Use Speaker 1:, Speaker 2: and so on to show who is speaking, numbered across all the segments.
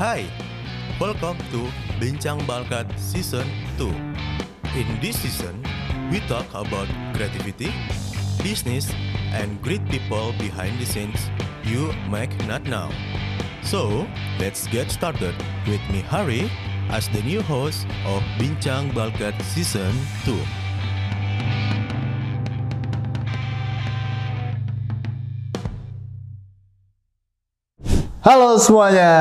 Speaker 1: Hi, welcome to Bincang Balkat Season 2. In this season, we talk about creativity, business, and great people behind the scenes you might not know. So, let's get started with me Hari as the new host of Bincang Balkat Season 2.
Speaker 2: Halo semuanya,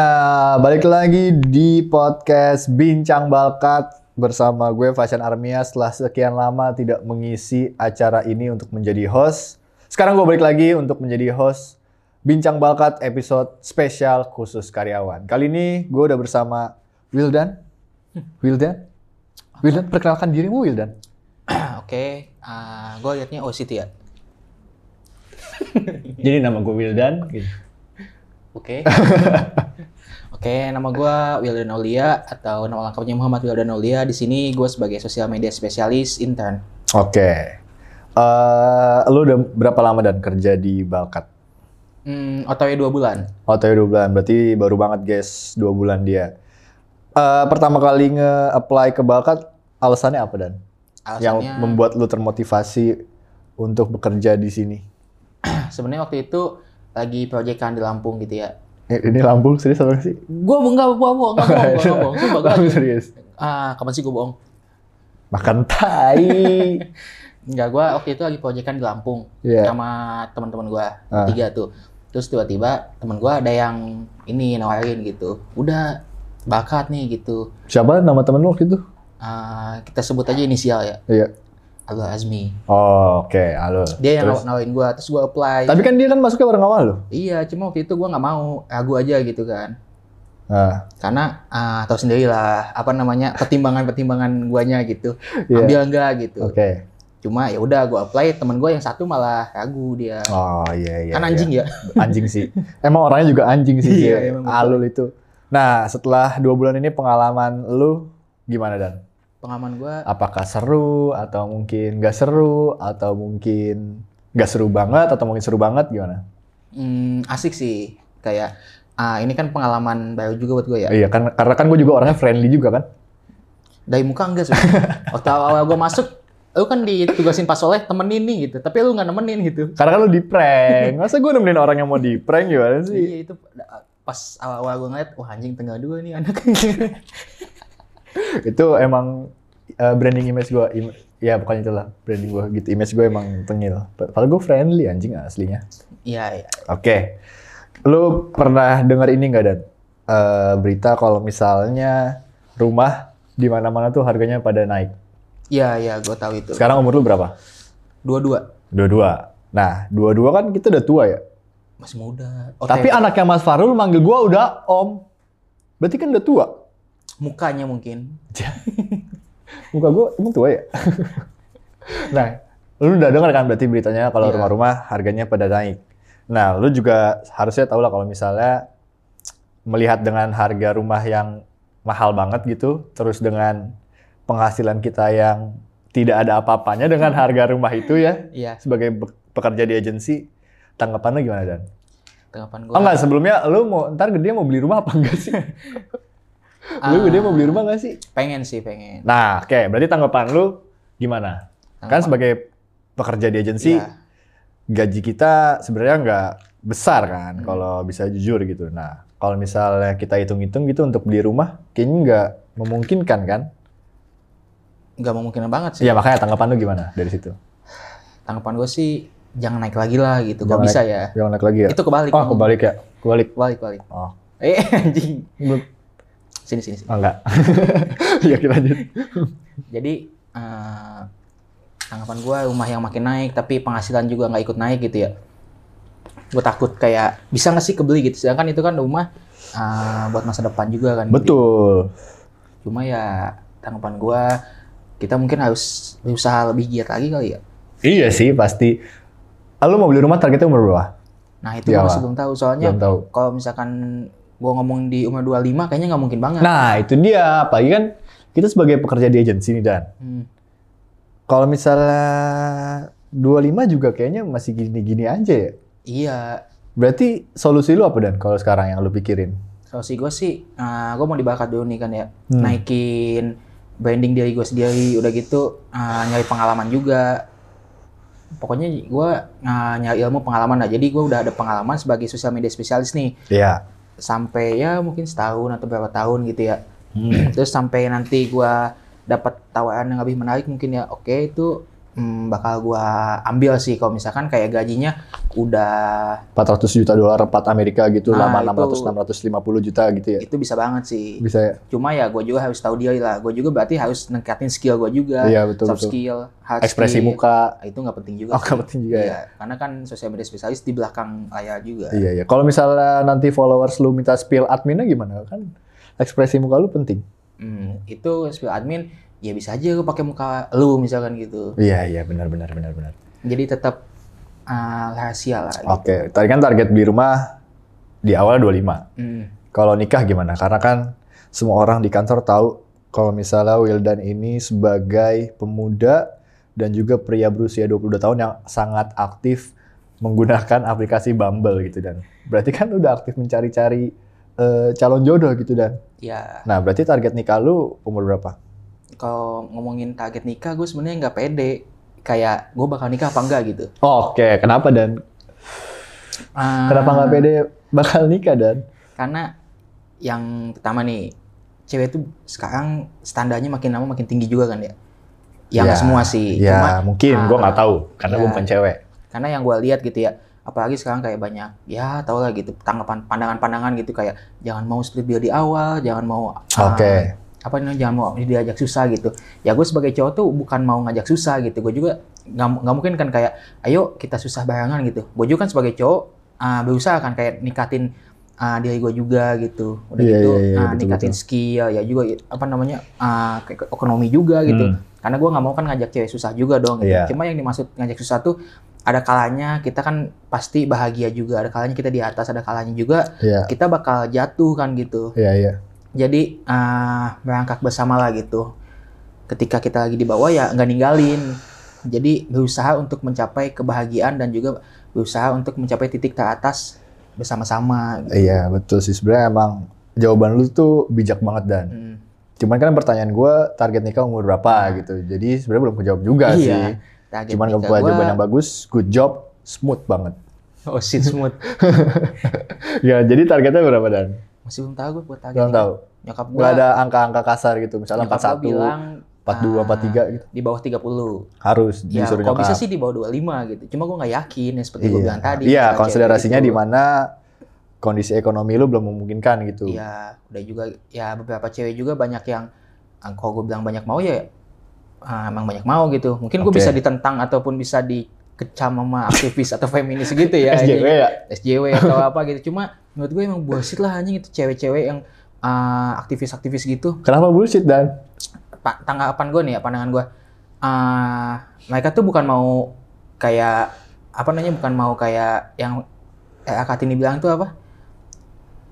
Speaker 2: balik lagi di podcast Bincang Balkat bersama gue Fashan Armia setelah sekian lama tidak mengisi acara ini untuk menjadi host. Sekarang gue balik lagi untuk menjadi host Bincang Balkat episode spesial khusus karyawan. Kali ini gue udah bersama Wildan. Wildan? Wildan, perkenalkan dirimu Wildan.
Speaker 3: Oke, ah, gue liatnya OCT ya.
Speaker 4: Jadi nama gue Wildan. Gitu.
Speaker 3: Oke. Oke, nama gue Wildan Aulia atau nama lengkapnya Muhammad Wildan Aulia. Di sini gue sebagai sosial media spesialis intern.
Speaker 2: Oke. Eh, lu udah berapa lama dan kerja di Balkat?
Speaker 3: Hmm, OTW dua bulan.
Speaker 2: OTW 2 Oh, bulan, berarti baru banget guys, 2 bulan dia. Eh, pertama kali nge-apply ke Balkat, alasannya apa Dan?
Speaker 3: Alasannya,
Speaker 2: Yang membuat lu termotivasi untuk bekerja di sini.
Speaker 3: sebenarnya waktu itu lagi proyekan di Lampung gitu ya.
Speaker 2: Eh, Ini Lampung serius apa sih?
Speaker 3: Gue enggak bohong, enggak bohong, enggak bohong. Sumpah gue
Speaker 2: Lampung serius.
Speaker 3: Ah, kapan sih gue bohong?
Speaker 2: Makan tai.
Speaker 3: Enggak, gue waktu itu lagi proyekan di Lampung.
Speaker 2: Iya.
Speaker 3: sama teman-teman gua
Speaker 2: Ah.
Speaker 3: tiga tuh terus tiba-tiba teman gua ada yang ini nawarin gitu udah bakat nih gitu
Speaker 2: Siapa nama temen lu waktu itu?
Speaker 3: Ah, kita sebut aja inisial ya
Speaker 2: Iya.
Speaker 3: Alul Azmi
Speaker 2: Oh, oke, halo.
Speaker 3: dia yang
Speaker 2: Terus?
Speaker 3: naw- nawarin gua terus gua apply
Speaker 2: Tapi kan dia kan masuknya bareng awal loh.
Speaker 3: iya cuma waktu itu gua nggak mau ragu aja gitu kan
Speaker 2: Ah,
Speaker 3: karena ah, tahu sendiri lah apa namanya pertimbangan-pertimbangan guanya gitu
Speaker 2: iya.
Speaker 3: ambil enggak gitu
Speaker 2: Oke.
Speaker 3: cuma ya udah gua apply teman gua yang satu malah ragu dia
Speaker 2: Oh, iya iya.
Speaker 3: kan
Speaker 2: iya.
Speaker 3: anjing ya
Speaker 2: anjing sih. Emang orangnya juga anjing sih
Speaker 3: Iya,
Speaker 2: dia.
Speaker 3: emang betul.
Speaker 2: Alul itu. Nah, setelah dua bulan ini pengalaman lu gimana dan?
Speaker 3: pengalaman gua
Speaker 2: Apakah seru atau mungkin gak seru atau mungkin gak seru banget atau mungkin seru banget gimana?
Speaker 3: Hmm, asik sih kayak ah, ini kan pengalaman baru juga buat gue ya.
Speaker 2: Iya kan karena kan gue juga orangnya friendly juga kan.
Speaker 3: Dari muka enggak sih. Waktu awal gue masuk, lu kan ditugasin pas oleh temenin nih gitu, tapi lu nggak nemenin gitu.
Speaker 2: Karena kan lu di prank. Masa gue nemenin orang yang mau di prank gimana sih?
Speaker 3: Iya itu pas awal-awal gue ngeliat, wah anjing tengah dua nih anak.
Speaker 2: Itu emang eh, branding image gue. Im- ya bukan itulah branding gue gitu. Image gue emang tengil. Padahal gue friendly anjing aslinya.
Speaker 3: Iya, iya.
Speaker 2: Oke. Lu pernah dengar ini nggak Dan? Eh, berita kalau misalnya rumah di mana-mana tuh harganya pada naik.
Speaker 3: Iya, iya, gue tahu itu.
Speaker 2: Sekarang umur lu berapa?
Speaker 3: Dua-dua
Speaker 2: Dua-dua. Nah, dua-dua kan kita udah tua ya.
Speaker 3: masih muda. Oh,
Speaker 2: Tapi
Speaker 3: teh-
Speaker 2: anaknya Mas Farul manggil gua udah om. Berarti kan udah tua.
Speaker 3: mukanya mungkin.
Speaker 2: Muka gua emang tua ya? nah, lu udah dengar kan berarti beritanya kalau
Speaker 3: Iya.
Speaker 2: rumah-rumah harganya pada naik. Nah, lu juga harusnya tahu lah kalau misalnya melihat dengan harga rumah yang mahal banget gitu, terus dengan penghasilan kita yang tidak ada apa-apanya dengan harga rumah itu ya,
Speaker 3: Iya,
Speaker 2: sebagai be- pekerja di agensi, tanggapan lu gimana Dan?
Speaker 3: tanggapan gue.
Speaker 2: Oh enggak, sebelumnya lu mau ntar gede mau beli rumah apa enggak sih? lu gede mau beli rumah enggak sih?
Speaker 3: Ah, Pengen sih, pengen.
Speaker 2: Nah, oke, berarti tanggapan lu gimana? Kan
Speaker 3: Tanggapan-
Speaker 2: sebagai pekerja di agensi,
Speaker 3: Iya.
Speaker 2: gaji kita sebenarnya nggak besar kan,
Speaker 3: Hmm.
Speaker 2: kalau bisa jujur gitu. Nah, kalau misalnya kita hitung-hitung gitu untuk beli rumah, kayaknya nggak memungkinkan kan?
Speaker 3: nggak memungkinkan banget sih.
Speaker 2: Iya, makanya tanggapan lu gimana dari situ?
Speaker 3: Tanggapan gue sih jangan naik lagi lah gitu. Kalau
Speaker 2: Jangan
Speaker 3: bisa ya.
Speaker 2: Yang naik lagi ya?
Speaker 3: Itu kebalik.
Speaker 2: Oh, kebalik ya? Kebalik.
Speaker 3: Balik, balik.
Speaker 2: Oh.
Speaker 3: Eh, anjing.
Speaker 2: Belum.
Speaker 3: Sini, sini, sini.
Speaker 2: Oh, enggak. Iya, kita lanjut.
Speaker 3: Jadi, eh tanggapan gua rumah yang makin naik, tapi penghasilan juga nggak ikut naik gitu ya. Gue takut kayak, bisa nggak sih kebeli gitu. Sedangkan itu kan rumah eh, buat masa depan juga kan.
Speaker 2: Betul.
Speaker 3: Cuma ya, tanggapan gua kita mungkin harus berusaha lebih giat lagi kali ya.
Speaker 2: Iya sih, pasti. Ah, Lu mau beli rumah targetnya umur berapa?
Speaker 3: Nah, itu
Speaker 2: Iya,
Speaker 3: gua
Speaker 2: Pak.
Speaker 3: masih belum tahu. Soalnya,
Speaker 2: Belum tahu.
Speaker 3: kalau misalkan gua ngomong di umur 25, kayaknya nggak mungkin banget.
Speaker 2: Nah, itu dia. Apalagi kan kita sebagai pekerja di agensi nih, Dan.
Speaker 3: Hmm.
Speaker 2: Kalau misalnya 25 juga kayaknya masih gini-gini aja ya.
Speaker 3: Iya,
Speaker 2: Berarti solusi lu apa, Dan, kalau sekarang yang lu pikirin?
Speaker 3: solusi gue sih eh gue mau dibakar dulu nih kan ya
Speaker 2: Hmm.
Speaker 3: naikin branding diri gue sendiri udah gitu eh, nyari pengalaman juga pokoknya gue eh, nyari ilmu pengalaman lah jadi gue udah ada pengalaman sebagai social media spesialis nih
Speaker 2: Iya.
Speaker 3: sampai ya mungkin setahun atau berapa tahun gitu ya
Speaker 2: Hmm.
Speaker 3: terus sampai nanti gua dapat tawaran yang lebih menarik mungkin ya oke itu mm, bakal gua ambil sih kalau misalkan kayak gajinya udah
Speaker 2: 400 juta dolar 4 Amerika gitu
Speaker 3: Nah,
Speaker 2: lama
Speaker 3: itu-
Speaker 2: 600 650 juta gitu ya.
Speaker 3: itu bisa banget sih
Speaker 2: Bisa ya?
Speaker 3: cuma ya gue juga harus tahu diri lah gue juga berarti harus ningkatin skill gue juga
Speaker 2: Iya betul
Speaker 3: soft
Speaker 2: betul.
Speaker 3: skill hard
Speaker 2: Ekspresi
Speaker 3: skill.
Speaker 2: muka.
Speaker 3: Nah, itu nggak penting juga
Speaker 2: Oh,
Speaker 3: sih.
Speaker 2: nggak penting juga
Speaker 3: Iya, karena kan sosial media spesialis di belakang layar juga
Speaker 2: Iya iya. Kalau misalnya nanti followers lu minta spill adminnya gimana kan? Ekspresi muka lu penting.
Speaker 3: Hmm, itu skill admin ya bisa aja lu pakai muka lu misalkan gitu
Speaker 2: Iya iya benar benar benar benar.
Speaker 3: jadi tetap uh, rahasia lah gitu.
Speaker 2: Oke, tadi kan target beli rumah di awal 25.
Speaker 3: Hmm.
Speaker 2: Kalau nikah gimana? Karena kan semua orang di kantor tahu kalau misalnya Wildan ini sebagai pemuda dan juga pria berusia 22 tahun yang sangat aktif menggunakan aplikasi Bumble gitu dan berarti kan udah aktif mencari-cari eh, calon jodoh gitu dan.
Speaker 3: ya
Speaker 2: Nah, berarti target nikah lu umur berapa?
Speaker 3: kalau ngomongin target nikah gue sebenarnya nggak pede kayak gue bakal nikah apa enggak gitu
Speaker 2: Oke, kenapa dan?
Speaker 3: Ah,
Speaker 2: Kenapa nggak pede bakal nikah dan?
Speaker 3: karena yang pertama nih cewek tuh sekarang standarnya makin lama makin tinggi juga kan ya
Speaker 2: Ya,
Speaker 3: yang nggak semua sih
Speaker 2: ya,
Speaker 3: cuma
Speaker 2: mungkin
Speaker 3: ah,
Speaker 2: gua nggak tahu karena
Speaker 3: ya.
Speaker 2: gua bukan cewek.
Speaker 3: karena yang gue lihat gitu ya apalagi sekarang kayak banyak ya tau lah gitu tanggapan pandangan-pandangan gitu kayak jangan mau split bill di awal jangan mau ah,
Speaker 2: Oke.
Speaker 3: apa namanya jangan mau diajak susah gitu ya gue sebagai cowok tuh bukan mau ngajak susah gitu gue juga nggak mu- nggak mungkin kan kayak ayo kita susah barengan gitu gue juga kan sebagai cowok ah, berusaha kan kayak nikatin ah, diri gue juga gitu udah
Speaker 2: Iya,
Speaker 3: gitu
Speaker 2: iya, iya,
Speaker 3: ah,
Speaker 2: betul,
Speaker 3: nikatin skill ya juga i- apa namanya ah, ke- ke- ekonomi juga gitu
Speaker 4: Hmm.
Speaker 3: karena gue nggak mau kan ngajak cewek susah juga dong gitu.
Speaker 2: Iya.
Speaker 3: cuma yang dimaksud ngajak susah tuh ada kalanya kita kan pasti bahagia juga ada kalanya kita di atas ada kalanya juga
Speaker 2: Iya.
Speaker 3: kita bakal jatuh kan gitu
Speaker 2: Iya, iya.
Speaker 3: jadi ah, merangkak bersama lah gitu ketika kita lagi di bawah ya nggak ninggalin jadi berusaha untuk mencapai kebahagiaan dan juga berusaha untuk mencapai titik teratas bersama-sama gitu.
Speaker 2: Iya betul sih sebenarnya emang jawaban lu tuh bijak banget dan.
Speaker 3: Hmm.
Speaker 2: Cuman kan pertanyaan gua target nikah umur berapa gitu. Jadi sebenarnya belum kejawab juga
Speaker 3: Iya,
Speaker 2: sih.
Speaker 3: target
Speaker 2: Cuman
Speaker 3: nikah
Speaker 2: kamu punya
Speaker 3: gua-
Speaker 2: jawaban yang bagus, good job, smooth banget.
Speaker 3: oh shit smooth
Speaker 2: Ya jadi targetnya berapa dan?
Speaker 3: masih belum tahu gue buat target
Speaker 2: Belum
Speaker 3: nikah.
Speaker 2: tahu.
Speaker 3: nyokap gue
Speaker 2: Gak ada angka-angka kasar gitu. Misalnya
Speaker 3: nyokap gua
Speaker 2: 41,
Speaker 3: bilang
Speaker 2: 42,
Speaker 3: ah,
Speaker 2: 43 gitu.
Speaker 3: di bawah 30
Speaker 2: Harus
Speaker 3: ya
Speaker 2: disuruh
Speaker 3: kalau bisa
Speaker 2: nyokap.
Speaker 3: sih di bawah 25 gitu cuma gue nggak yakin ya seperti gue
Speaker 2: Iya.
Speaker 3: bilang tadi
Speaker 2: Iya,
Speaker 3: misalnya cewek
Speaker 2: konsiderasinya
Speaker 3: gitu.
Speaker 2: di mana kondisi ekonomi lu belum memungkinkan gitu.
Speaker 3: Iya, udah juga ya beberapa cewek juga banyak yang ah, kalau gue bilang banyak mau ya ah, emang banyak mau gitu. Mungkin gue
Speaker 2: Oke.
Speaker 3: bisa ditentang ataupun bisa dikecam sama aktivis atau feminis gitu ya.
Speaker 2: SJW ya.
Speaker 3: SJW atau apa gitu. Cuma menurut gue emang bullshit lah anjing itu cewek-cewek yang ah, aktivis-aktivis gitu.
Speaker 2: Kenapa bullshit dan?
Speaker 3: Pa- tanggapan gue nih ya, pandangan gue. ah, mereka tuh bukan mau kayak apa namanya bukan mau kayak yang eh, Akatini bilang tuh apa?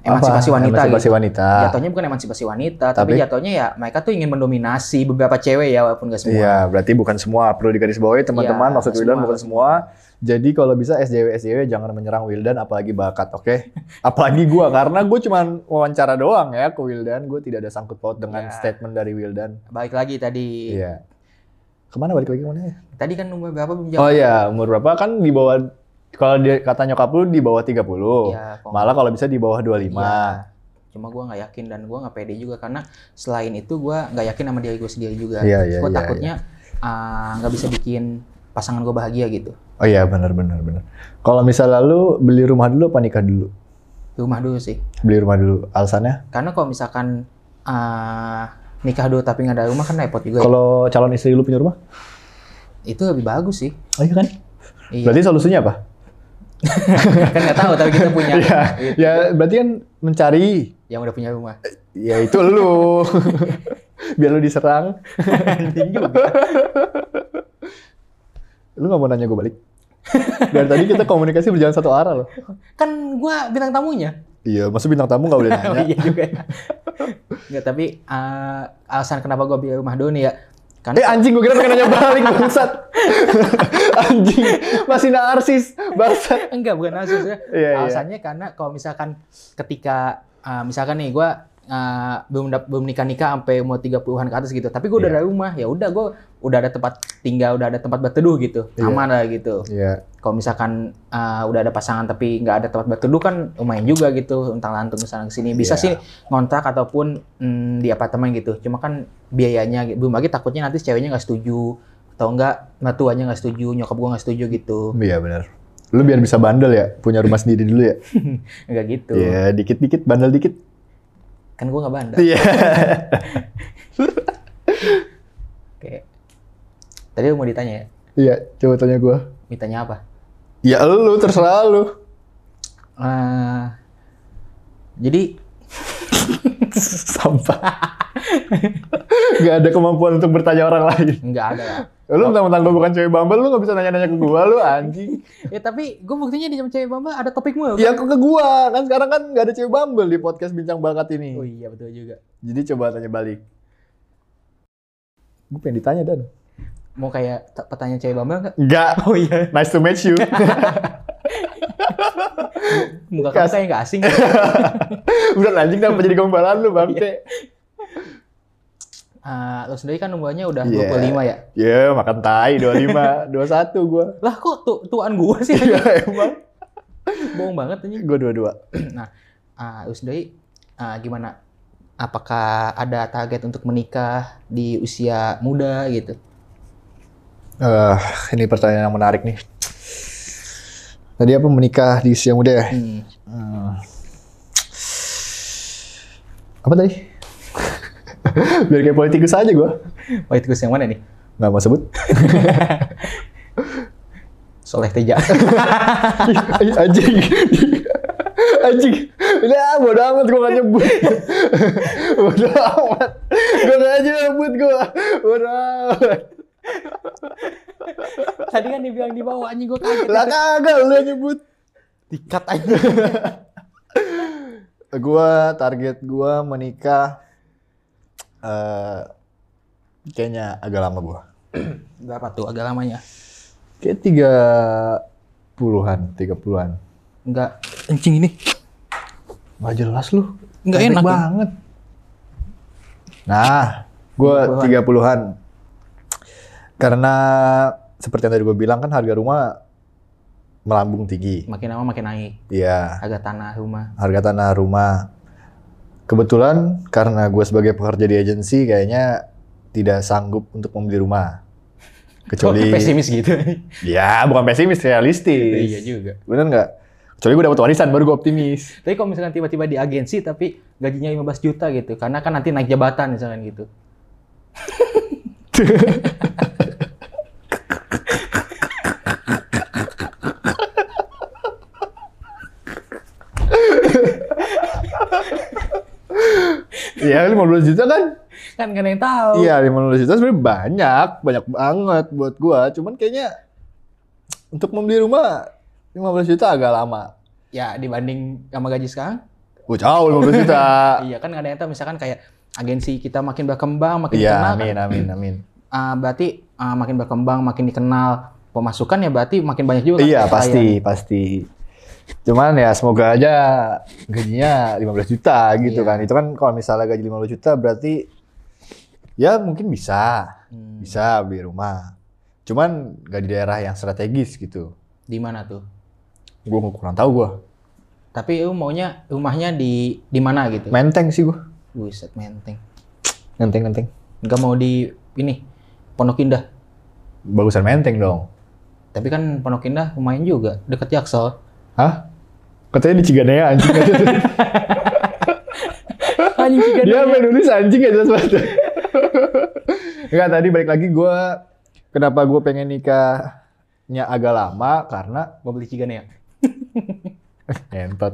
Speaker 2: Apa?
Speaker 3: Emansipasi wanita gitu
Speaker 2: Emansipasi wanita.
Speaker 3: jatuhnya bukan emansipasi wanita,
Speaker 2: Ah.
Speaker 3: tapi,
Speaker 2: Tapi-
Speaker 3: jatuhnya ya mereka tuh ingin mendominasi beberapa cewek ya walaupun gak semua.
Speaker 2: Iya, berarti bukan semua perlu digarisbawahi teman-teman.
Speaker 3: Iya,
Speaker 2: Maksud
Speaker 3: nggak
Speaker 2: Wildan
Speaker 3: semua.
Speaker 2: bukan semua. Jadi kalau bisa SJW SJW jangan menyerang Wildan apalagi bakat, oke? apalagi gua karena gue cuman wawancara doang ya ke Wildan. Gue tidak ada sangkut paut dengan
Speaker 3: Iya.
Speaker 2: statement dari Wildan.
Speaker 3: Balik lagi tadi.
Speaker 2: Iya. Kemana balik lagi kemana ya?
Speaker 3: Tadi kan nomor berapa belum
Speaker 2: Oh
Speaker 3: jawab?
Speaker 2: iya, umur berapa kan di bawah kalau dia kata nyokap lu di bawah 30.
Speaker 3: Iya, kok-
Speaker 2: Malah kalau bisa di bawah 25.
Speaker 3: Iya. Cuma gue nggak yakin dan gue nggak pede juga karena selain itu gue nggak yakin sama diri gue sendiri juga.
Speaker 2: Iya, iya,
Speaker 3: gue
Speaker 2: iya,
Speaker 3: takutnya ah, nggak bisa bikin pasangan gue bahagia gitu.
Speaker 2: Oh iya, benar benar benar. Kalau misalnya lu beli rumah dulu apa nikah dulu?
Speaker 3: Rumah dulu sih.
Speaker 2: Beli rumah dulu. Alasannya?
Speaker 3: Karena kalau misalkan ah, nikah dulu tapi nggak ada rumah kan repot juga. ya.
Speaker 2: Kalau calon istri lu punya rumah?
Speaker 3: Itu lebih bagus sih.
Speaker 2: Oh iya kan?
Speaker 3: Iya.
Speaker 2: Berarti solusinya apa?
Speaker 3: kan nggak tahu tapi kita punya
Speaker 2: ya,
Speaker 3: gitu.
Speaker 2: ya berarti kan mencari
Speaker 3: yang udah punya rumah.
Speaker 2: ya itu lu. Biar lu diserang. lu nggak mau nanya gue balik? Dari tadi kita komunikasi berjalan satu arah loh.
Speaker 3: kan gua bintang tamunya
Speaker 2: Iya, maksud bintang tamu nggak boleh
Speaker 3: oh,
Speaker 2: nanya.
Speaker 3: iya juga nggak tapi eh, alasan kenapa gua beli rumah dulu nih ya
Speaker 2: Eh
Speaker 3: karena
Speaker 2: anjing gue kira pengen nanya balik bangsat. anjing masih narsis bangsat.
Speaker 3: enggak bukan alasannya
Speaker 2: Iya, iya.
Speaker 3: alasannya karena kalau misalkan ketika ah, misalkan nih gue ah, belum dap- belum nikah nikah sampai umur 30-an ke atas gitu tapi gue udah
Speaker 4: Iya.
Speaker 3: ada rumah ya udah gue udah ada tempat tinggal udah ada tempat berteduh gitu
Speaker 2: Iya.
Speaker 3: aman lah gitu
Speaker 2: Iya.
Speaker 3: kalau misalkan uh, udah ada pasangan tapi nggak ada tempat berteduh kan lumayan juga gitu untang lantung kesana kesini bisa
Speaker 2: Iya.
Speaker 3: sih ngontrak ataupun mm, di apartemen gitu cuma kan biayanya gitu. belum lagi takutnya nanti ceweknya nggak setuju atau enggak mertuanya nggak setuju nyokap gua nggak setuju gitu
Speaker 2: Iya benar. Lu biar bisa bandel ya, punya rumah sendiri dulu ya.
Speaker 3: enggak gitu
Speaker 2: Iya, dikit-dikit bandel dikit.
Speaker 3: kan gua nggak bandel
Speaker 2: Iya.
Speaker 3: kayak tadi lu mau ditanya ya
Speaker 2: Iya, coba tanya gua.
Speaker 3: ditanya apa
Speaker 2: Ya lu terserah lu.
Speaker 3: Eh, jadi
Speaker 2: Sampah. gak ada kemampuan untuk bertanya orang lain.
Speaker 3: nggak ada ya? lah.
Speaker 2: Lu mentang-mentang gua bukan cewek bumble, lu gak bisa nanya-nanya ke gua, lu anjing.
Speaker 3: ya tapi gue buktinya di jam cewek bamba ada topik mulu
Speaker 2: Ya ke gua, kan sekarang kan gak ada cewek bumble di podcast Bincang Bakat
Speaker 3: oh
Speaker 2: ini.
Speaker 3: iya betul juga
Speaker 2: Jadi coba tanya balik. Gue pengen ditanya, Dan.
Speaker 3: mau kayak t- pertanyaan cewek bamba nggak
Speaker 2: Enggak.
Speaker 3: oh iya
Speaker 2: Nice to meet you.
Speaker 3: Muka kamu
Speaker 2: Kas-
Speaker 3: kayak nggak asing.
Speaker 2: Udah anjing kenapa jadi gombalan lu, Bangke?
Speaker 3: Ah, lo sendiri kan umurnya udah
Speaker 2: Iya.
Speaker 3: 25 ya.
Speaker 2: Ya, makan tai 25, 21 gua.
Speaker 3: Lah kok tu tuan gua sih?
Speaker 2: Iya, emang.
Speaker 3: Bohong banget anjing.
Speaker 2: Gua 22.
Speaker 3: Nah, ah, lo sendiri ah, gimana? Apakah ada target untuk menikah di usia muda gitu?
Speaker 2: Eh, ini pertanyaan yang menarik nih. Tadi apa menikah di usia muda ya?
Speaker 3: Hmm.
Speaker 2: Hmm. Apa tadi? Biar kayak politikus aja gua.
Speaker 3: White Goose yang mana nih?
Speaker 2: Nggak mau sebut.
Speaker 3: Soleh Teja.
Speaker 2: Ih, anjing. anjing. Udah bodo amat gua nggak nyebut. bodo amat. Gua nggak aja nyebut gua. Bodo amat.
Speaker 3: Tadi kan dibilang di bawah anjing gua kaget.
Speaker 2: Lah kagak lu yang nyebut.
Speaker 3: Dikat aja.
Speaker 2: gua target gua menikah eh kayaknya agak lama gua
Speaker 3: Berapa tuh agak lamanya?
Speaker 2: kayak tiga puluhan tiga puluhan
Speaker 3: Enggak. Anjing ini.
Speaker 2: nggak jelas lu
Speaker 3: Nggak
Speaker 2: Pendek
Speaker 3: enak ya?
Speaker 2: banget nah gua
Speaker 3: 30-an.
Speaker 2: tiga puluhan karena seperti yang tadi gua bilang kan harga rumah melambung tinggi
Speaker 3: Makin lama makin naik.
Speaker 2: iya
Speaker 3: Harga tanah rumah.
Speaker 2: harga tanah rumah. Kebetulan karena gue sebagai pekerja di agensi kayaknya tidak sanggup untuk membeli rumah. Kecuali
Speaker 3: Kok pesimis gitu.
Speaker 2: ya bukan pesimis realistis.
Speaker 3: iya juga.
Speaker 2: Bener nggak? Kecuali gue dapat warisan baru gue optimis.
Speaker 3: Tapi kalau misalkan tiba-tiba di agensi tapi gajinya 15 juta gitu, karena kan nanti naik jabatan misalkan gitu.
Speaker 2: Iya 15 juta kan?
Speaker 3: Kan gak ada yang tahu.
Speaker 2: Iya 15 juta sebenarnya banyak, banyak banget buat gue. Cuman kayaknya untuk membeli rumah 15 juta agak lama.
Speaker 3: Ya dibanding sama gaji sekarang,
Speaker 2: Gue jauh 15 juta.
Speaker 3: iya kan gak ada yang tahu misalkan kayak agensi kita makin berkembang, makin dikenal.
Speaker 2: Iya
Speaker 3: kan,
Speaker 2: amin amin amin.
Speaker 3: ah, berarti ah, makin berkembang, makin dikenal pemasukan ya berarti makin banyak juga kan
Speaker 2: Iya
Speaker 3: klien.
Speaker 2: pasti pasti. Cuman ya semoga aja gajinya 15 juta gitu
Speaker 3: Iya.
Speaker 2: kan. Itu kan kalau misalnya gaji 15 juta berarti ya mungkin bisa
Speaker 3: Hmm,
Speaker 2: bisa beli rumah. Cuman gak di daerah yang strategis gitu.
Speaker 3: di mana tuh?
Speaker 2: Gue kurang tahu gue.
Speaker 3: Tapi lu maunya rumahnya di di mana gitu?
Speaker 2: Menteng sih gue.
Speaker 3: Buset menteng.
Speaker 2: Menteng menteng.
Speaker 3: Gak mau di ini Pondok Indah.
Speaker 2: Bagusan menteng dong.
Speaker 3: Tapi kan Pondok Indah lumayan juga, deket Jaksel.
Speaker 2: Hah? Katanya di Ciganea anjing.
Speaker 3: Anjing sih
Speaker 2: Dia sampai nulis anjing gak jelas banget. Enggak tadi balik lagi gue kenapa gue pengen nikahnya agak lama karena
Speaker 3: Mau beli cigan ya?
Speaker 2: entot.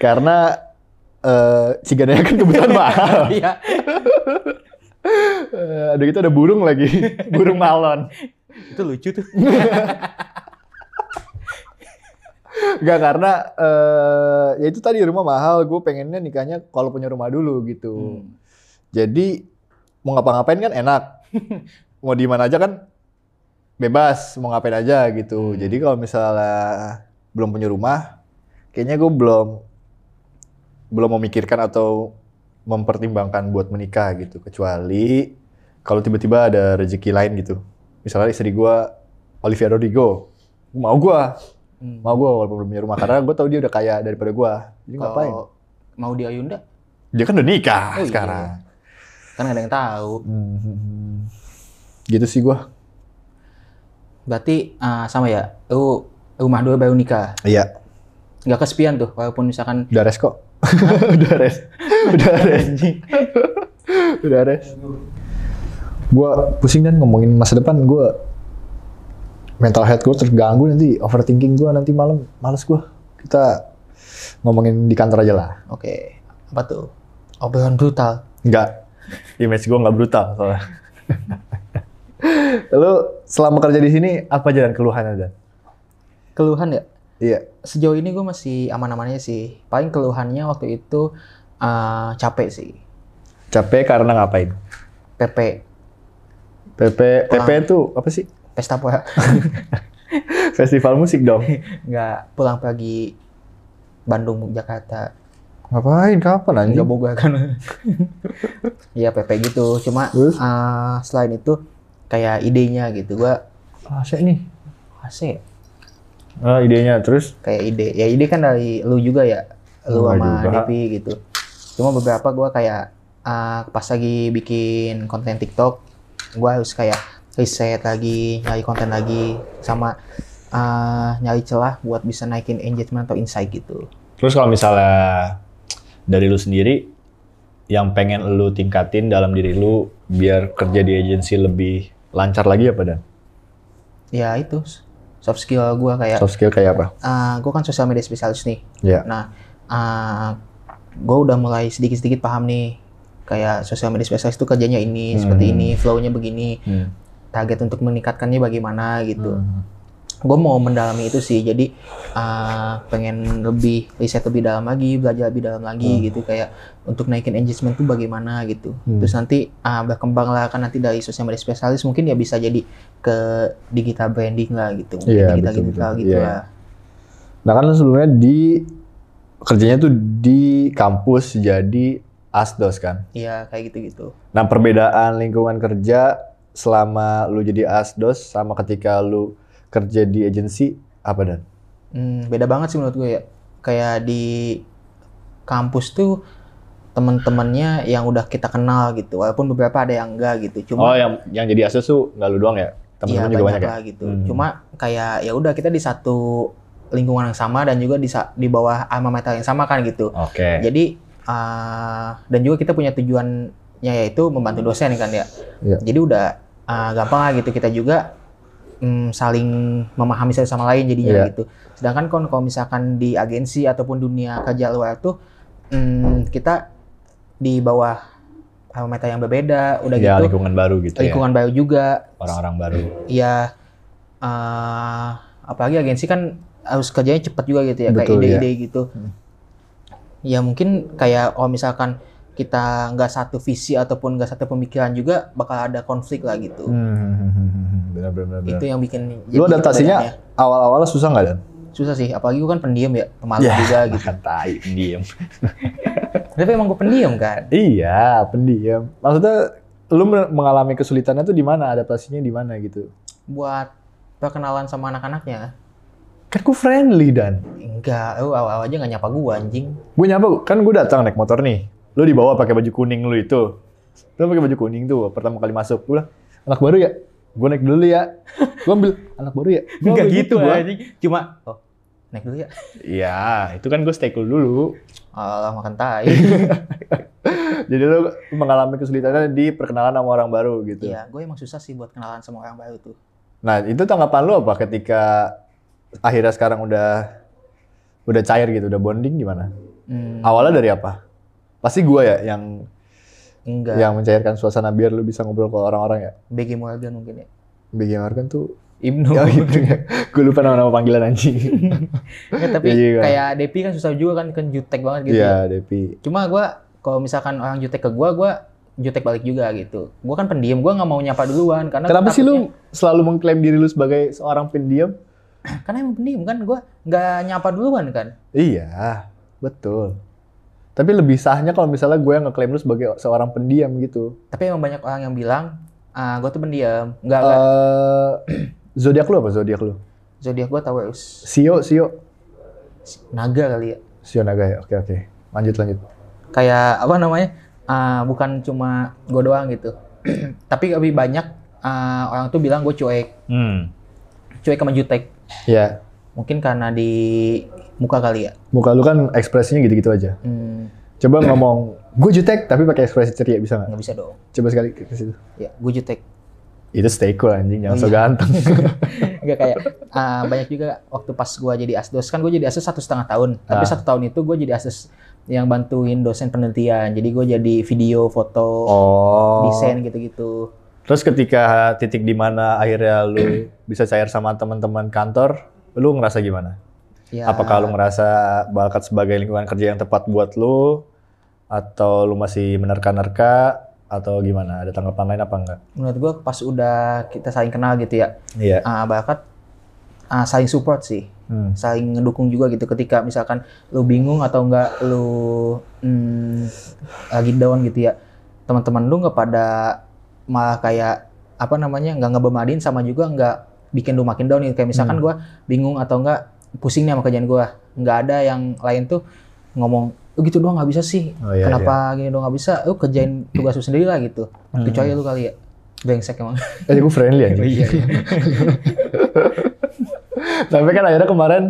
Speaker 2: karena eh cigananya kan kebetulan mahal.
Speaker 3: Iya.
Speaker 2: Eh, ada gitu ada burung lagi, burung malon.
Speaker 3: itu lucu tuh.
Speaker 2: Enggak karena eh ya itu tadi rumah mahal, gue pengennya nikahnya kalau punya rumah dulu gitu.
Speaker 3: Hmm.
Speaker 2: Jadi mau ngapa-ngapain kan enak. mau di mana aja kan
Speaker 3: Hmm.
Speaker 2: bebas, mau ngapain aja gitu. Jadi kalau misalnya belum punya rumah, kayaknya gue belum belum memikirkan atau mempertimbangkan buat menikah gitu kecuali kalau tiba-tiba ada rezeki lain gitu misalnya istri gue Olivia Rodrigo mau gue
Speaker 3: Hmm.
Speaker 2: mau gue walaupun belum punya rumah karena gue tau dia udah kaya daripada gue jadi
Speaker 3: Oh.
Speaker 2: ngapain
Speaker 3: Kalau mau di Ayunda
Speaker 2: dia kan udah nikah
Speaker 3: Oh, iya.
Speaker 2: sekarang
Speaker 3: kan nggak ada yang tahu.
Speaker 2: Hmm. gitu sih gue
Speaker 3: Berarti eh, sama ya. Lu rumah dua baru nikah.
Speaker 2: iya
Speaker 3: Nggak kesepian tuh walaupun misalkan
Speaker 2: udah res kok udah res udah res udah res gue pusing dan ngomongin masa depan gue mental health gue terganggu nanti overthinking gue nanti malam males gue kita ngomongin di kantor aja lah
Speaker 3: oke apa tuh obrolan brutal.
Speaker 2: Enggak. Image gue nggak brutal soalnya. Lu selama kerja di sini apa jalan keluhannya dan?
Speaker 3: Keluhan ya?
Speaker 2: Iya.
Speaker 3: Sejauh ini gue masih aman-amannya sih. Paling keluhannya waktu itu eh, capek sih.
Speaker 2: Capek karena ngapain?
Speaker 3: PP
Speaker 2: PP PP
Speaker 3: Pulang.
Speaker 2: itu apa sih?
Speaker 3: pesta pola
Speaker 2: Festival musik dong.
Speaker 3: nggak pulang pagi Bandung Jakarta
Speaker 2: ngapain? Kapan
Speaker 3: nggak
Speaker 2: anjing?
Speaker 3: boga kan Iya PP gitu cuma
Speaker 2: Terus?
Speaker 3: eh, selain itu kayak idenya gitu gua
Speaker 2: Ah, Asik nih.
Speaker 3: AC
Speaker 2: Ah, idenya terus
Speaker 3: kayak ide ya ide kan dari lu juga ya lu
Speaker 2: Gua
Speaker 3: sama
Speaker 2: juga.
Speaker 3: Devi gitu cuma beberapa gua kayak ah, pas lagi bikin konten TikTok gua harus kayak riset lagi nyari konten lagi sama ah, nyari celah buat bisa naikin engagement atau insight gitu
Speaker 4: Terus kalau misalnya dari lu sendiri yang pengen lu tingkatin dalam diri lu biar kerja di agensi lebih lancar lagi apa dan?
Speaker 3: ya itu soft skill gua kayak
Speaker 2: soft skill kayak apa?
Speaker 3: ah, gua kan sosial media spesialis nih
Speaker 2: Iya.
Speaker 3: nah gue udah mulai sedikit-sedikit paham nih kayak sosial media spesialis itu kerjanya ini seperti
Speaker 4: Hmm.
Speaker 3: ini flow-nya begini target untuk meningkatkannya
Speaker 2: Hmm.
Speaker 3: bagaimana gitu. Gue mau mendalami itu sih, jadi uh, pengen lebih riset lebih dalam lagi, belajar lebih dalam lagi gitu kayak untuk naikin engagement tuh bagaimana gitu.
Speaker 2: Hmm.
Speaker 3: Terus nanti uh, berkembang lah kan nanti dari sosial media spesialis mungkin ya bisa jadi ke digital branding lah gitu, mungkin
Speaker 2: Iya,
Speaker 3: digital
Speaker 2: betul,
Speaker 3: digital
Speaker 2: betul.
Speaker 3: gitu
Speaker 2: Iya.
Speaker 3: lah.
Speaker 2: Nah kan lu sebelumnya di kerjanya tuh di kampus jadi asdos kan?
Speaker 3: Iya kayak gitu gitu.
Speaker 2: Nah, perbedaan lingkungan kerja selama lu jadi asdos sama ketika lu kerja di agensi apa dan?
Speaker 3: Hmm, beda banget sih menurut gue ya. Kayak di kampus tuh temen-temennya yang udah kita kenal gitu, walaupun beberapa ada yang enggak gitu. Cuma
Speaker 4: Oh yang yang jadi ases tuh nggak lu doang ya?
Speaker 3: Iya
Speaker 4: Temen-temen juga banyak, ya?
Speaker 3: lah gitu.
Speaker 4: Hmm.
Speaker 3: Cuma kayak ya udah kita di satu lingkungan yang sama dan juga di sa- di bawah alma mater yang sama kan gitu.
Speaker 4: Oke.
Speaker 2: Iya.
Speaker 3: Jadi eh, dan juga kita punya tujuannya yaitu membantu dosen kan ya.
Speaker 2: Iya.
Speaker 3: Jadi udah eh, gampang lah gitu kita juga mm, saling memahami satu sama lain jadinya
Speaker 2: Iya.
Speaker 3: gitu. Sedangkan kon kalau misalkan di agensi ataupun dunia kerja luar tuh mm, kita di bawah alma mater yang berbeda,
Speaker 2: Iya,
Speaker 3: udah
Speaker 4: Ya,
Speaker 3: gitu
Speaker 4: lingkungan baru gitu ya.
Speaker 3: lingkungan baru juga
Speaker 4: Orang-orang baru.
Speaker 3: ya eh apalagi agensi kan harus kerjanya cepat juga gitu ya
Speaker 2: Betul,
Speaker 3: kayak ide-ide gitu
Speaker 2: Hmm.
Speaker 3: ya mungkin kayak oh misalkan kita nggak satu visi ataupun nggak satu pemikiran juga bakal ada konflik lah gitu
Speaker 2: Hmm, benar benar
Speaker 3: itu yang bikin
Speaker 2: Lu
Speaker 3: jadi
Speaker 2: adaptasinya
Speaker 3: perbedaannya.
Speaker 2: awal-awalnya susah nggak dan? Iya.
Speaker 3: susah sih apalagi gue kan pendiam ya pemalu
Speaker 2: Yah.
Speaker 3: juga gitu
Speaker 4: Makan tai, diem.
Speaker 3: tapi emang gue pendiam kan
Speaker 2: Iya, pendiam. Maksudnya lu men- mengalami kesulitannya tuh di mana adaptasinya di mana gitu?
Speaker 3: buat perkenalan sama anak-anaknya
Speaker 2: Kan gue friendly dan.
Speaker 3: enggak lu awal-awal aja nggak nyapa gue anjing
Speaker 2: Gue nyapa kan gue datang naik motor nih. Lu dibawa pakai baju kuning lu itu. Lu pakai baju kuning tuh pertama kali masuk. Gue bilang, anak baru ya? Gue naik dulu ya. Gue ambil anak baru ya? Gua
Speaker 3: enggak
Speaker 2: ambil
Speaker 3: gitu
Speaker 2: gua.
Speaker 3: anjing cuma oh naik dulu ya
Speaker 4: Iya, itu kan gue stay cool dulu.
Speaker 3: Allah makan tai
Speaker 2: Jadi lu mengalami kesulitannya di perkenalan sama orang baru gitu.
Speaker 3: Iya, gue emang susah sih buat kenalan sama orang baru tuh.
Speaker 2: Nah, itu tanggapan lu apa ketika akhirnya sekarang udah udah cair gitu, udah bonding gimana?
Speaker 3: Hmm,
Speaker 2: Awalnya dari apa? Pasti gua ya yang
Speaker 3: enggak.
Speaker 2: yang mencairkan suasana biar lu bisa ngobrol ke orang-orang ya.
Speaker 3: BG Morgan mungkin ya. iya.
Speaker 2: BG Morgan tuh
Speaker 3: Ibnu.
Speaker 2: ya gitu ya. Gue lupa nama-nama panggilan anjing.
Speaker 3: Nggak, Ya, tapi
Speaker 2: Iya juga.
Speaker 3: kayak Depi kan susah juga kan, kan jutek banget gitu. ya.
Speaker 2: Iya, Depi.
Speaker 3: Cuma gue kalau misalkan orang jutek ke gue, gue jutek balik juga gitu. Gue kan pendiam, gue nggak mau nyapa duluan karena.
Speaker 2: Kenapa
Speaker 3: gua
Speaker 2: sih
Speaker 3: takutnya-
Speaker 2: lu selalu mengklaim diri lu sebagai seorang pendiam?
Speaker 3: karena emang pendiam kan gue nggak nyapa duluan kan
Speaker 2: Iya, betul. Tapi lebih sahnya kalau misalnya gue yang ngeklaim lu sebagai seorang pendiam gitu.
Speaker 3: tapi emang banyak orang yang bilang ah gue tuh pendiam nggak nggak
Speaker 2: Eh zodiak lu apa zodiak lu?
Speaker 3: zodiak gue Taurus
Speaker 2: Sio, Sio,
Speaker 3: naga kali ya
Speaker 2: Sio naga ya. Oke, oke. Lanjut, lanjut.
Speaker 3: kayak apa namanya ah, bukan cuma gue doang gitu tapi lebih banyak ah, orang tuh bilang gue cuek
Speaker 4: Hmm.
Speaker 3: cuek sama jutek
Speaker 2: Ya,
Speaker 3: mungkin karena di muka kali ya
Speaker 2: muka lu kan ekspresinya gitu-gitu aja.
Speaker 3: Hmm,
Speaker 2: Coba ngomong, gue jutek tapi pakai ekspresi ceria bisa nggak?
Speaker 3: nggak bisa dong
Speaker 2: Coba sekali ke ke situ.
Speaker 3: ya gue jutek
Speaker 2: Itu stay cool anjing, jangan so ganteng.
Speaker 3: nggak kayak ah, banyak juga waktu pas gue jadi asdos kan gue jadi asdos satu setengah tahun tapi
Speaker 2: Ah.
Speaker 3: satu tahun itu gue jadi asdos yang bantuin dosen penelitian jadi gue jadi video foto
Speaker 2: Oh.
Speaker 3: desain gitu-gitu
Speaker 2: Terus ketika titik di mana akhirnya lu bisa cair sama teman-teman kantor, lu ngerasa gimana?
Speaker 3: ya
Speaker 2: Apakah lu ngerasa Balkat sebagai lingkungan kerja yang tepat buat lu atau lu masih menerka-nerka atau gimana? Ada tanggapan lain apa enggak?
Speaker 3: menurut gue pas udah kita saling kenal gitu ya
Speaker 2: Iya.
Speaker 3: ah, bahkan ah, saling support sih
Speaker 2: Hmm.
Speaker 3: saling ngedukung juga gitu ketika misalkan lu bingung atau enggak lu mm, lagi down gitu ya teman-teman lu nggak pada malah kayak apa namanya nggak ngebemadin sama juga nggak bikin lu makin down gitu.
Speaker 2: Hmm.
Speaker 3: kayak misalkan gua bingung atau enggak pusing nih sama kerjaan gua nggak ada yang lain tuh ngomong "Lu gitu doang nggak bisa sih
Speaker 2: Oh iya.
Speaker 3: kenapa gini doang nggak bisa lu kerjain tugas lu sendiri lah gitu
Speaker 2: Hmm.
Speaker 3: kecuali lu kali ya brengsek emang
Speaker 2: iya. Eh, gue Eh, friendly anjing.
Speaker 3: Oh,
Speaker 2: Tapi kan akhirnya kemarin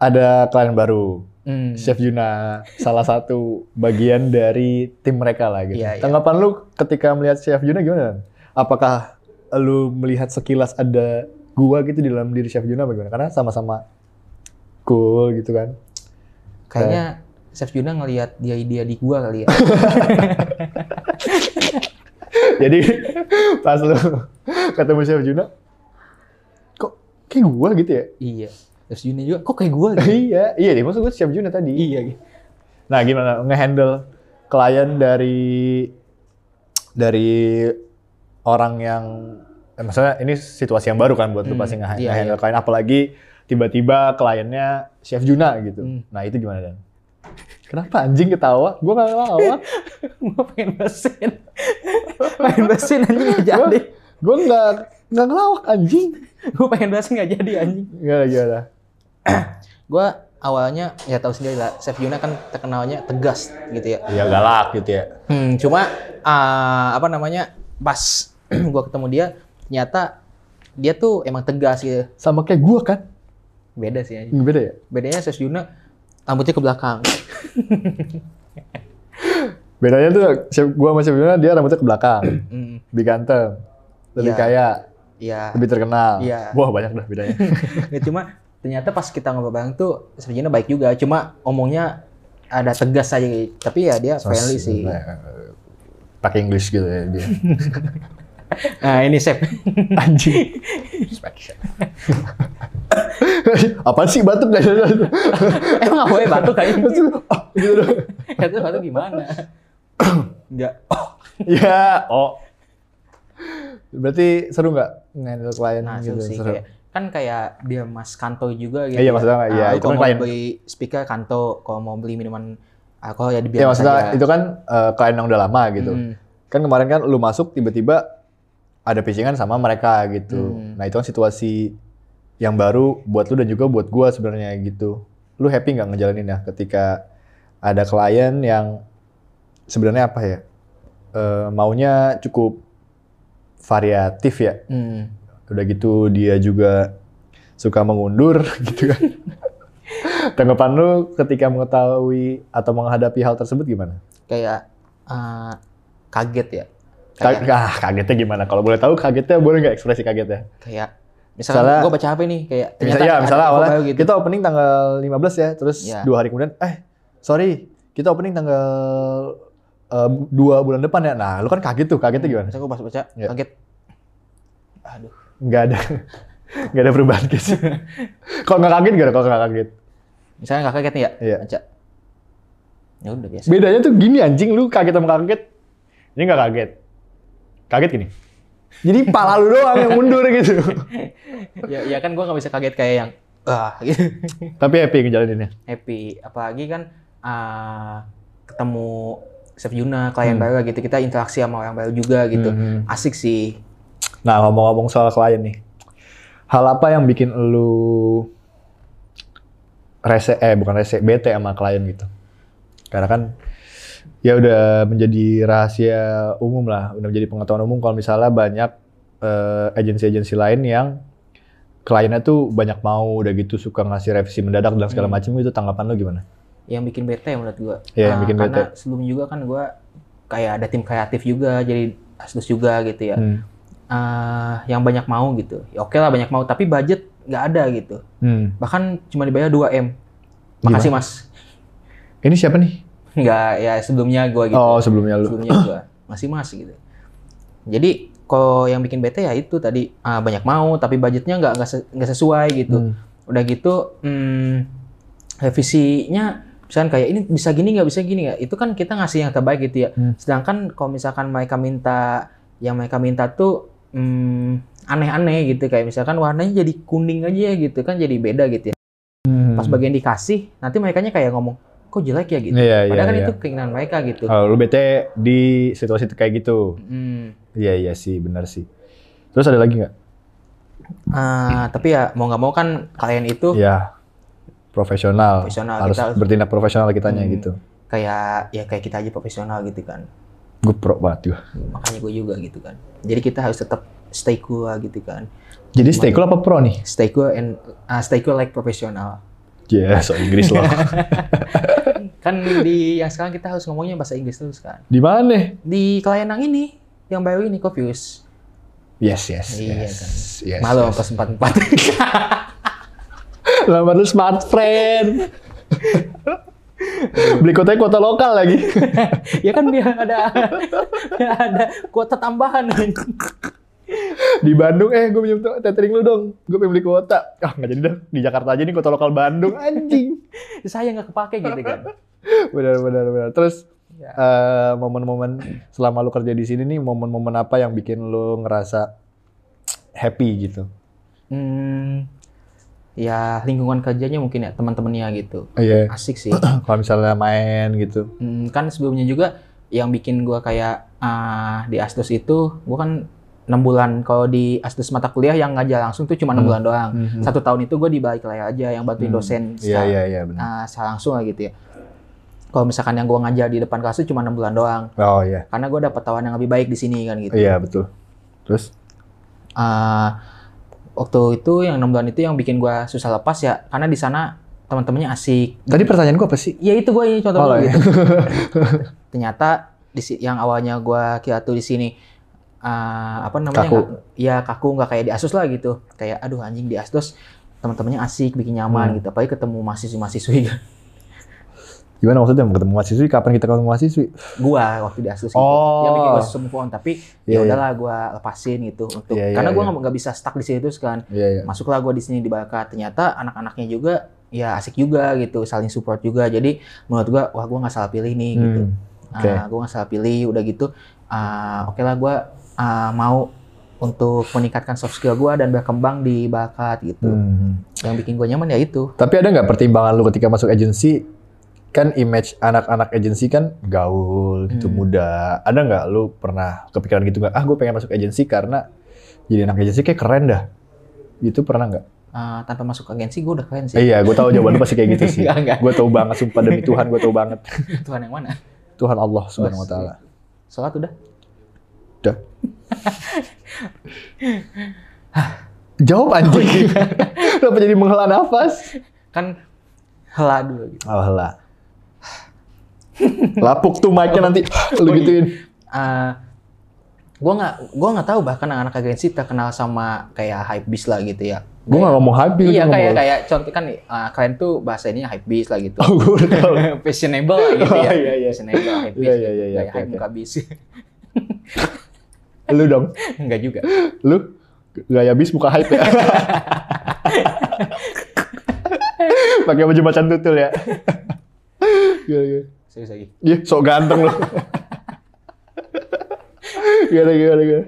Speaker 2: ada klien baru,
Speaker 3: Hmm.
Speaker 2: Chef Yuna, salah satu bagian dari tim mereka lah gitu.
Speaker 3: Iya, iya.
Speaker 2: Tanggapan lu ketika melihat Chef Yuna gimana? Apakah lu melihat sekilas ada gua gitu di dalam diri Chef Yuna bagaimana? Karena sama-sama cool gitu kan.
Speaker 3: Kayaknya Chef Juna ngelihat dia dia di gua kali ya.
Speaker 2: Jadi pas lu ketemu Chef Yuna, kok kayak gua gitu ya?
Speaker 3: iya. Chef Juna juga kok kayak gua gitu.
Speaker 2: iya, iya deh. Maksud gue Chef Juna tadi.
Speaker 3: Iya.
Speaker 2: Nah, gimana ngehandle klien dari dari orang yang eh, maksudnya ini situasi yang baru kan buat lu
Speaker 3: Hmm,
Speaker 2: pasti ngeha-
Speaker 3: iya,
Speaker 2: ngehandle klien apalagi tiba-tiba kliennya Chef Juna gitu.
Speaker 3: Hmm.
Speaker 2: Nah, itu gimana Dan? Kenapa anjing ketawa? Gua gak ketawa.
Speaker 3: Gua pengen mesin. pengen mesin anjing nggak jadi.
Speaker 2: Gua nggak nggak ngelawak anjing.
Speaker 3: Gua pengen mesin nggak jadi anjing.
Speaker 2: Gak lagi ada.
Speaker 3: Gua awalnya ya tahu sendiri lah. Chef Juna kan terkenalnya tegas gitu ya.
Speaker 2: Ya galak gitu ya.
Speaker 3: Hmm, cuma ah, apa namanya pas gua ketemu dia ternyata dia tuh emang tegas gitu.
Speaker 2: Sama kayak gua kan.
Speaker 3: Beda sih anjing.
Speaker 2: Beda ya?
Speaker 3: Bedanya Chef Juna rambutnya ke belakang.
Speaker 2: Bedanya tuh Chef gua sama Chef Juna dia rambutnya ke belakang,
Speaker 3: Hmm,
Speaker 2: lebih ganteng, lebih
Speaker 3: Iya.
Speaker 2: kaya.
Speaker 3: ya.
Speaker 2: lebih terkenal.
Speaker 3: Iya.
Speaker 2: Wah banyak dah bedanya.
Speaker 3: Ya, cuma ternyata pas kita ngobrol bareng tuh sebenarnya baik juga. Cuma omongnya ada tegas aja. Tapi ya dia friendly sih.
Speaker 2: eh, Pakai English gitu ya dia.
Speaker 3: Nah ini Chef.
Speaker 2: Anjing. Apaan sih batuk dari
Speaker 3: Emang nggak boleh batuk kayaknya.
Speaker 2: gitu doh.
Speaker 3: Kata batuk gimana? Enggak.
Speaker 2: Ya, oh. Berarti seru nggak ngendel klien
Speaker 3: Nah
Speaker 2: gitu?
Speaker 3: seru sih kayak kan kayak dia Mas Kanto juga gitu.
Speaker 2: Iya,
Speaker 3: ya.
Speaker 2: maksudnya nggak- iya,
Speaker 3: Nah, lu
Speaker 2: itu
Speaker 3: kalau
Speaker 2: kan
Speaker 3: mau
Speaker 2: klien.
Speaker 3: beli speaker Kanto, kalau mau beli minuman alkohol ya dibilang
Speaker 2: Ya maksudnya itu kan eh, klien yang udah lama gitu.
Speaker 3: Mm.
Speaker 2: Kan kemarin kan lu masuk tiba-tiba ada pitchingan sama mereka gitu.
Speaker 3: Hmm.
Speaker 2: Nah itu kan situasi yang baru buat lu dan juga buat gua sebenarnya gitu. Lu happy nggak ngejalanin ya ketika ada klien yang sebenarnya apa ya Eh maunya cukup variatif ya.
Speaker 3: Hmm.
Speaker 2: Udah gitu dia juga suka mengundur gitu kan. Tanggapan lu ketika mengetahui atau menghadapi hal tersebut gimana?
Speaker 3: Kayak eh, kaget ya.
Speaker 2: Ka-
Speaker 5: Iya.
Speaker 2: ah, kagetnya gimana? Kalau boleh tahu kagetnya boleh nggak ekspresi kagetnya?
Speaker 3: kayak misalnya
Speaker 2: Misalnya-
Speaker 3: gue baca HP nih kayak
Speaker 2: Misal,
Speaker 3: ternyata
Speaker 2: ya,
Speaker 3: ada
Speaker 2: misalnya
Speaker 3: info
Speaker 2: awalnya
Speaker 3: baru gitu.
Speaker 2: kita opening tanggal 15 ya, terus
Speaker 3: Ya.
Speaker 5: Iya.
Speaker 2: dua hari kemudian, eh sorry, kita opening tanggal eh, dua bulan depan ya. Nah, lu kan kaget tuh, kagetnya gimana?
Speaker 3: Misalnya gue pas baca
Speaker 2: Ya.
Speaker 3: kaget. Aduh,
Speaker 2: Nggak ada, nggak ada perubahan guys. kalau nggak kaget gak ada, kalau nggak kaget.
Speaker 3: misalnya nggak kaget nih ya
Speaker 2: Iya.
Speaker 3: baca. Ya udah biasa.
Speaker 2: Bedanya tuh gini anjing, lu kaget sama kaget. Ini nggak kaget. Kaget gini.
Speaker 5: Jadi pala lu doang yang mundur gitu.
Speaker 3: ya, ya kan gua nggak bisa kaget kayak yang ah gitu.
Speaker 2: Tapi happy ngejalaninnya.
Speaker 3: happy apalagi kan ah, ketemu Chef Juna klien
Speaker 2: Hmm.
Speaker 3: baru gitu kita interaksi sama orang baru juga gitu
Speaker 2: Mhm.
Speaker 3: asik sih
Speaker 2: Nah ngomong-ngomong soal klien nih, hal apa yang bikin lu rese eh bukan rese bete sama klien gitu? Karena kan ya udah menjadi rahasia umum lah, udah menjadi pengetahuan umum kalau misalnya banyak eh, agensi-agensi lain yang kliennya tuh banyak mau udah gitu suka ngasih revisi mendadak dan segala
Speaker 3: Hmm.
Speaker 2: macam itu tanggapan lu gimana?
Speaker 3: yang bikin bete menurut gua
Speaker 2: Iya, yang
Speaker 3: Ah,
Speaker 2: bikin
Speaker 3: karena sebelum juga kan gua kayak ada tim kreatif juga jadi asdos juga gitu ya
Speaker 2: Hmm.
Speaker 3: Ah, yang banyak mau gitu ya oke lah banyak mau tapi budget nggak ada gitu
Speaker 2: Hmm.
Speaker 3: bahkan cuma dibayar 2 m makasih mas
Speaker 2: Ini siapa nih?
Speaker 3: nggak ya sebelumnya gua gitu
Speaker 2: Oh sebelumnya lu.
Speaker 3: sebelumnya gua masih mas gitu jadi kalau yang bikin bete ya itu tadi ah, banyak mau tapi budgetnya nggak nggak se- nggak sesuai gitu
Speaker 2: Hmm.
Speaker 3: udah gitu hmm, revisinya misalkan kayak ini bisa gini nggak bisa gini nggak itu kan kita ngasih yang terbaik gitu ya
Speaker 2: Hmm.
Speaker 3: sedangkan kalau misalkan mereka minta yang mereka minta tuh hmm, aneh-aneh gitu kayak misalkan warnanya jadi kuning aja gitu kan jadi beda gitu
Speaker 2: Hmm.
Speaker 3: ya pas bagian dikasih nanti mereka kayak ngomong kok jelek ya gitu
Speaker 2: Iya,
Speaker 3: padahal
Speaker 2: iya,
Speaker 3: kan
Speaker 2: iya.
Speaker 3: itu keinginan mereka gitu
Speaker 2: Oh, lu bete di situasi kayak gitu.
Speaker 3: Hmm.
Speaker 2: Iya iya sih, benar sih. Terus ada lagi nggak?
Speaker 3: Ah, tapi ya mau nggak mau kan kalian itu
Speaker 2: Ya, profesional.
Speaker 3: Profesional,
Speaker 2: harus
Speaker 3: kita-
Speaker 2: bertindak profesional kitanya
Speaker 3: Hmm.
Speaker 2: gitu.
Speaker 3: kayak ya kayak kita aja profesional gitu kan
Speaker 2: Gue pro banget gua.
Speaker 3: makanya gue juga gitu kan jadi kita harus tetap stay cool lah gitu kan
Speaker 2: Jadi stay cool apa pro nih?
Speaker 3: stay cool and ah, stay cool like profesional
Speaker 2: Ya, so Inggris loh.
Speaker 3: kan di yang sekarang kita harus ngomongnya bahasa Inggris terus kan
Speaker 2: Di mana?
Speaker 3: di klien yang ini yang baru ini Covius
Speaker 2: Yes, yes,
Speaker 3: Iya,
Speaker 2: yes.
Speaker 3: kan.
Speaker 2: yes,
Speaker 3: malu
Speaker 2: yes.
Speaker 3: pas empat empat
Speaker 2: Lama lu smart friend. Beli kotanya kota lokal lagi.
Speaker 3: ya kan biar ada biar ada kuota tambahan
Speaker 2: Di Bandung, eh gue minjem to- tethering lu dong. Gue pengen beli kuota. Ah, nggak jadi dah. Di Jakarta aja nih kota lokal Bandung. Anjing.
Speaker 3: saya nggak kepake gitu kan
Speaker 2: benar benar benar terus
Speaker 3: Ya.
Speaker 2: eh, momen-momen selama lu kerja di sini nih momen-momen apa yang bikin lu ngerasa happy gitu
Speaker 3: hmm, ya lingkungan kerjanya mungkin ya teman-temannya gitu
Speaker 2: iya
Speaker 3: asik sih
Speaker 2: kalau misalnya main gitu
Speaker 3: Hmm, kan sebelumnya juga yang bikin gua kayak ah, di Asdos itu gua kan enam bulan kalau di Asdos mata kuliah yang ngajar langsung tuh cuma enam
Speaker 2: Hmm.
Speaker 3: bulan doang
Speaker 2: Mhm.
Speaker 3: satu tahun itu gua di balik layar aja yang bantuin
Speaker 2: Hmm.
Speaker 3: dosen
Speaker 2: iya
Speaker 3: secara,
Speaker 2: iya iya benar
Speaker 3: ah, secara langsung lah gitu ya kalau misalkan yang gua ngajar di depan kelas tuh cuma enam bulan doang
Speaker 2: oh iya
Speaker 3: karena gua dapat tawaran yang lebih baik di sini kan gitu
Speaker 2: iya betul terus
Speaker 3: Ah, waktu itu yang enam bulan itu yang bikin gua susah lepas ya karena di sana teman-temannya asik
Speaker 2: tadi pertanyaan gua apa sih
Speaker 3: ya itu gue ini contoh
Speaker 2: Oh,
Speaker 3: dulu
Speaker 2: iya.
Speaker 3: gitu. ternyata di si- yang awalnya gua kira tuh di sini eh, apa namanya
Speaker 2: Kaku.
Speaker 3: nggak- ya kaku nggak kayak di asus lah gitu kayak aduh anjing di asus teman-temannya asik bikin nyaman
Speaker 2: Hmm.
Speaker 3: gitu apalagi ketemu mahasiswa mahasiswi
Speaker 2: gimana maksudnya mau ketemu mahasiswi kapan kita ketemu mahasiswi
Speaker 3: gua waktu di
Speaker 2: Oh.
Speaker 3: asus gitu. yang bikin gua susah move on tapi
Speaker 2: Iya,
Speaker 3: ya udahlah gua lepasin gitu untuk
Speaker 2: Iya, iya,
Speaker 3: karena gua
Speaker 2: iya.
Speaker 3: nggak nggak bisa stuck di situ terus kan
Speaker 2: iya iya
Speaker 3: masuklah gue di sini di Baka ternyata anak-anaknya juga ya asik juga gitu saling support juga jadi menurut gua wah gua nggak salah pilih nih gitu
Speaker 2: Hmm, oke.
Speaker 3: Ah, gua nggak salah pilih udah gitu ah, oke lah gua ah, mau untuk meningkatkan soft skill gua dan berkembang di bakat gitu
Speaker 2: Hmm.
Speaker 3: yang bikin gue nyaman ya itu
Speaker 2: Tapi ada nggak pertimbangan lu ketika masuk agensi? Kan image anak-anak agensi kan gaul, gitu
Speaker 3: Hmm.
Speaker 2: muda. Ada nggak lu pernah kepikiran gitu nggak? Ah, gue pengen masuk agensi karena jadi anak agensi kayak keren dah. Itu pernah nggak?
Speaker 3: Ah, tanpa masuk agensi gua udah
Speaker 2: Eh,
Speaker 3: keren sih
Speaker 2: iya, gue tahu jawaban lu pasti kayak gitu sih.
Speaker 3: Nggak, nggak.
Speaker 2: Gue tahu banget, sumpah demi Tuhan, gue tahu banget.
Speaker 3: Tuhan yang mana
Speaker 2: Tuhan
Speaker 3: Oh,
Speaker 2: Allah Subhanahu Wa Taala.
Speaker 3: sholat udah
Speaker 2: Udah. Jawab
Speaker 3: Oh,
Speaker 2: anjing.
Speaker 3: iya.
Speaker 2: Lu apa jadi menghela nafas?
Speaker 3: kan hela dulu gitu
Speaker 2: Oh, hela. Lapuk tuh mic-nya nanti
Speaker 3: Oh,
Speaker 2: lu
Speaker 3: iya.
Speaker 2: gituin.
Speaker 3: Ah, gua nggak gua nggak tahu bahkan anak-anak agensi terkenal sama kayak hype beast lah gitu ya
Speaker 2: Gue gak ngomong hype, gue
Speaker 3: Iya
Speaker 2: ngomong
Speaker 3: kayak
Speaker 2: lu.
Speaker 3: kayak contoh kan uh, kalian tuh bahasa ininya hype beast lah gitu.
Speaker 2: Oh, gue udah tau.
Speaker 3: Fashionable lah gitu ya.
Speaker 2: Oh, iya, iya.
Speaker 3: Fashionable
Speaker 2: Iya,
Speaker 3: hype beast. gitu.
Speaker 2: iya, iya, iya,
Speaker 3: Kayak
Speaker 2: oke,
Speaker 3: hype
Speaker 2: oke.
Speaker 3: muka beast.
Speaker 2: Lu dong,
Speaker 3: Enggak juga.
Speaker 2: lu gaya bis buka hype ya. Pakai baju macan tutul ya. Gila, gila.
Speaker 3: Serius lagi.
Speaker 2: Iya, sok ganteng lu. Gila, gila, gila.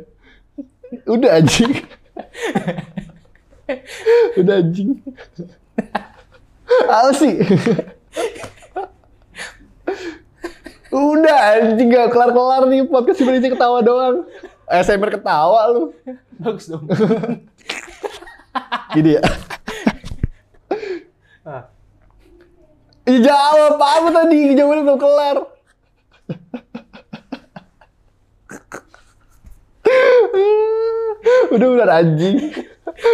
Speaker 2: Udah anjing. Udah anjing. Apa sih? Udah anjing gak kelar-kelar nih podcast cuma isi ketawa doang. Eh, ASMR ketawa lu.
Speaker 3: Bagus dong.
Speaker 2: Gini ya. Ya jawab apa tadi? Jawabannya belum kelar. udah udah anjing.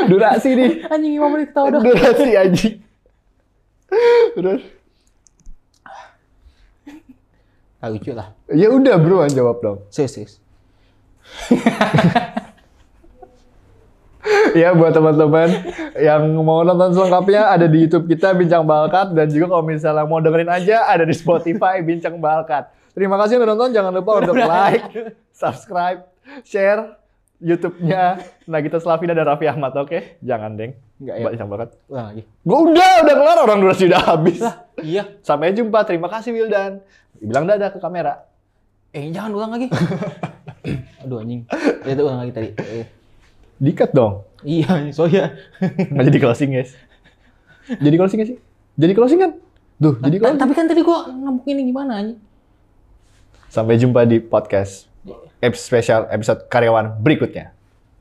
Speaker 2: Durasi nih.
Speaker 3: Anjing 5 menit ketawa dong.
Speaker 2: Durasi anjing. Udah.
Speaker 3: Ah, lucu lah.
Speaker 2: Ya udah bro, jawab dong.
Speaker 3: Serius, serius.
Speaker 2: ya buat teman-teman yang mau nonton selengkapnya ada di YouTube kita Bincang Balkat dan juga kalau misalnya mau dengerin aja ada di Spotify Bincang Balkat. Terima kasih udah nonton, jangan lupa untuk like, subscribe, share YouTube-nya Nah, Nagita Slavina dan Raffi Ahmad, oke? Jangan deng.
Speaker 3: Nggak, ya.
Speaker 2: Mbak Bincang Balkat.
Speaker 3: Ulang lagi.
Speaker 2: Gue udah, udah kelar orang durasi udah habis.
Speaker 3: Iya.
Speaker 2: Sampai jumpa, terima kasih Wildan. Bilang dadah ke kamera.
Speaker 3: Eh, jangan ulang lagi. Aduh anjing. Ya, itu ulang lagi tadi. Eh,
Speaker 2: Dikat dong.
Speaker 3: Iya, anjing. so ya.
Speaker 2: Nggak jadi closing guys. Jadi closing gak sih? Jadi closing kan? Tuh, jadi
Speaker 3: Ta-
Speaker 2: closing.
Speaker 3: Tapi kan tadi gua ngambek ini gimana anjing?
Speaker 2: Sampai jumpa di podcast episode spesial episode karyawan berikutnya.